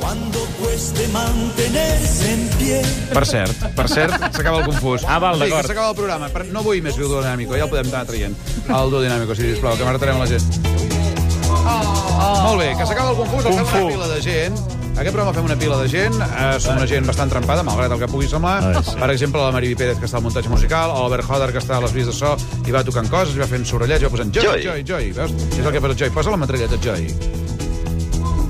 Cuando cueste mantenerse en pie. Per cert, per cert, s'acaba el confús. Ah, val, Sí, que d'acord. s'acaba el programa. Per- No vull més Duo Dinàmico, ja el podem anar traient. El Duo Dinàmico, sí, sisplau, que m'arretarem la gent. Molt bé, que s'acaba el confús, el fem Confús. una pila de gent. Aquest programa fem una pila de gent, eh, són una gent bastant trempada, malgrat el que pugui semblar. Ah, sí. Per exemple, la Mariby Pérez, que està al muntatge musical, o l'Albert Hodder, que està a les vies de so, i va tocant coses, i va fent sorollets, i va posant Joy, Joy, Joy. Veus? És el que posa Joy. Posa la metralleta, Joy.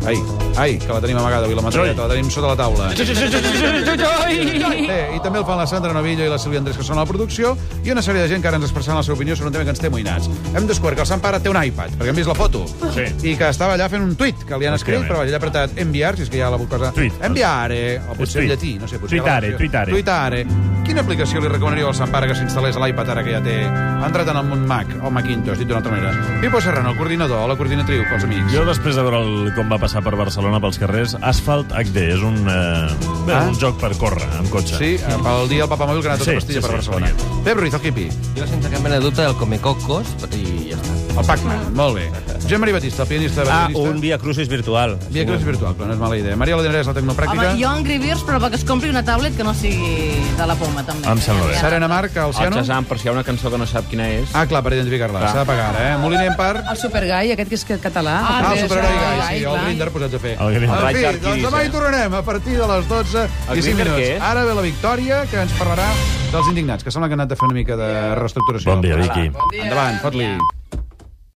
Ai, ai, que la tenim amagada avui, la metralleta, la tenim sota la taula. Bé, i també el fan la Sandra Novillo i la Sílvia Andrés, que són a la producció, i una sèrie de gent que ara ens expressaran la seva opinió sobre un tema que ens té moïnats. Hem descobert que el Sant Pare té un iPad, perquè hem vist la foto, Sí. i que estava allà fent un tuit que li han escrit, Efectivament. però ell ha apretat enviar, si és que hi ha la cosa... Tuit. Enviare, o potser en tuit. llatí, no sé, potser... Tuitare, la versió- tuitare. Tuitare. Quina aplicació li recomanaríeu al Sant Pare que s'instal·lés a l'iPad ara que ja té... Ha entrat en un Mac, o Macintosh, dit d'una altra manera. Pipo Serrano, el coordinador, o la coordinatriu, pels amics. Jo, després de veure el, com va passar per Barcelona pels carrers, Asphalt HD és un, eh, bé, Ah. un joc per córrer amb cotxe. Sí, eh, pel dia del papamòbil que ha anat tota Sí, pastilla sí, per sí, Barcelona. Pep Ruiz, el quipi. Jo, sense cap mena de dubte, el Comecocos, i ja està. El Pac-Man, molt bé. Josep Maria Batista, el pianista Ah, violinista. un Via Crucis virtual. Via Cruz virtual, però no és mala idea. Maria Ladenerès, la Home, tecnopràctica. jo Angry Birds, però que es compri una tablet que no sigui de la poma, també. Em sembla bé. Serena Marc, el El Ciano. Shazam, per si hi ha una cançó que no sap quina és. Ah, clar, per identificar-la. Clar. S'ha de pagar, ara, eh? Moliner en part. El supergai, aquest que és català. Ah, el Aquest és superheroi Gai, sí, el clar. Grinder posats a fer. El Grindr. En fi, Raig doncs demà hi Arquís, eh? tornarem a partir de les 12 El i 5 Grindr què minuts. és? Ara ve la Victòria, que ens parlarà dels indignats, que sembla que han anat a fer una mica de reestructuració. Bon dia, Vicky. Endavant, fot-li.